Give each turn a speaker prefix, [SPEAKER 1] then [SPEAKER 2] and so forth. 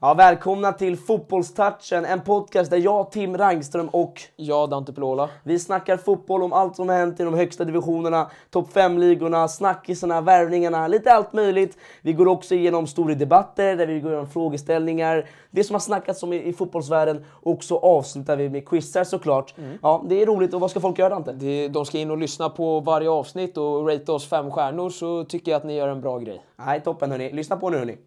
[SPEAKER 1] Ja, välkomna till Fotbollstouchen, en podcast där jag, Tim Rangström och
[SPEAKER 2] Ja, Dante Pelola.
[SPEAKER 1] vi snackar fotboll om allt som har hänt i de högsta divisionerna, topp 5-ligorna, snackisarna, värvningarna, lite allt möjligt. Vi går också igenom stora debatter där vi går igenom frågeställningar, det som har snackats om i, i fotbollsvärlden och så avslutar vi med quizar såklart. Ja, det är roligt och vad ska folk göra Dante?
[SPEAKER 2] Det- De ska in och lyssna på varje avsnitt och rate oss fem stjärnor så tycker jag att ni gör en bra grej.
[SPEAKER 1] Nej, toppen hörni. Lyssna på nu hörni.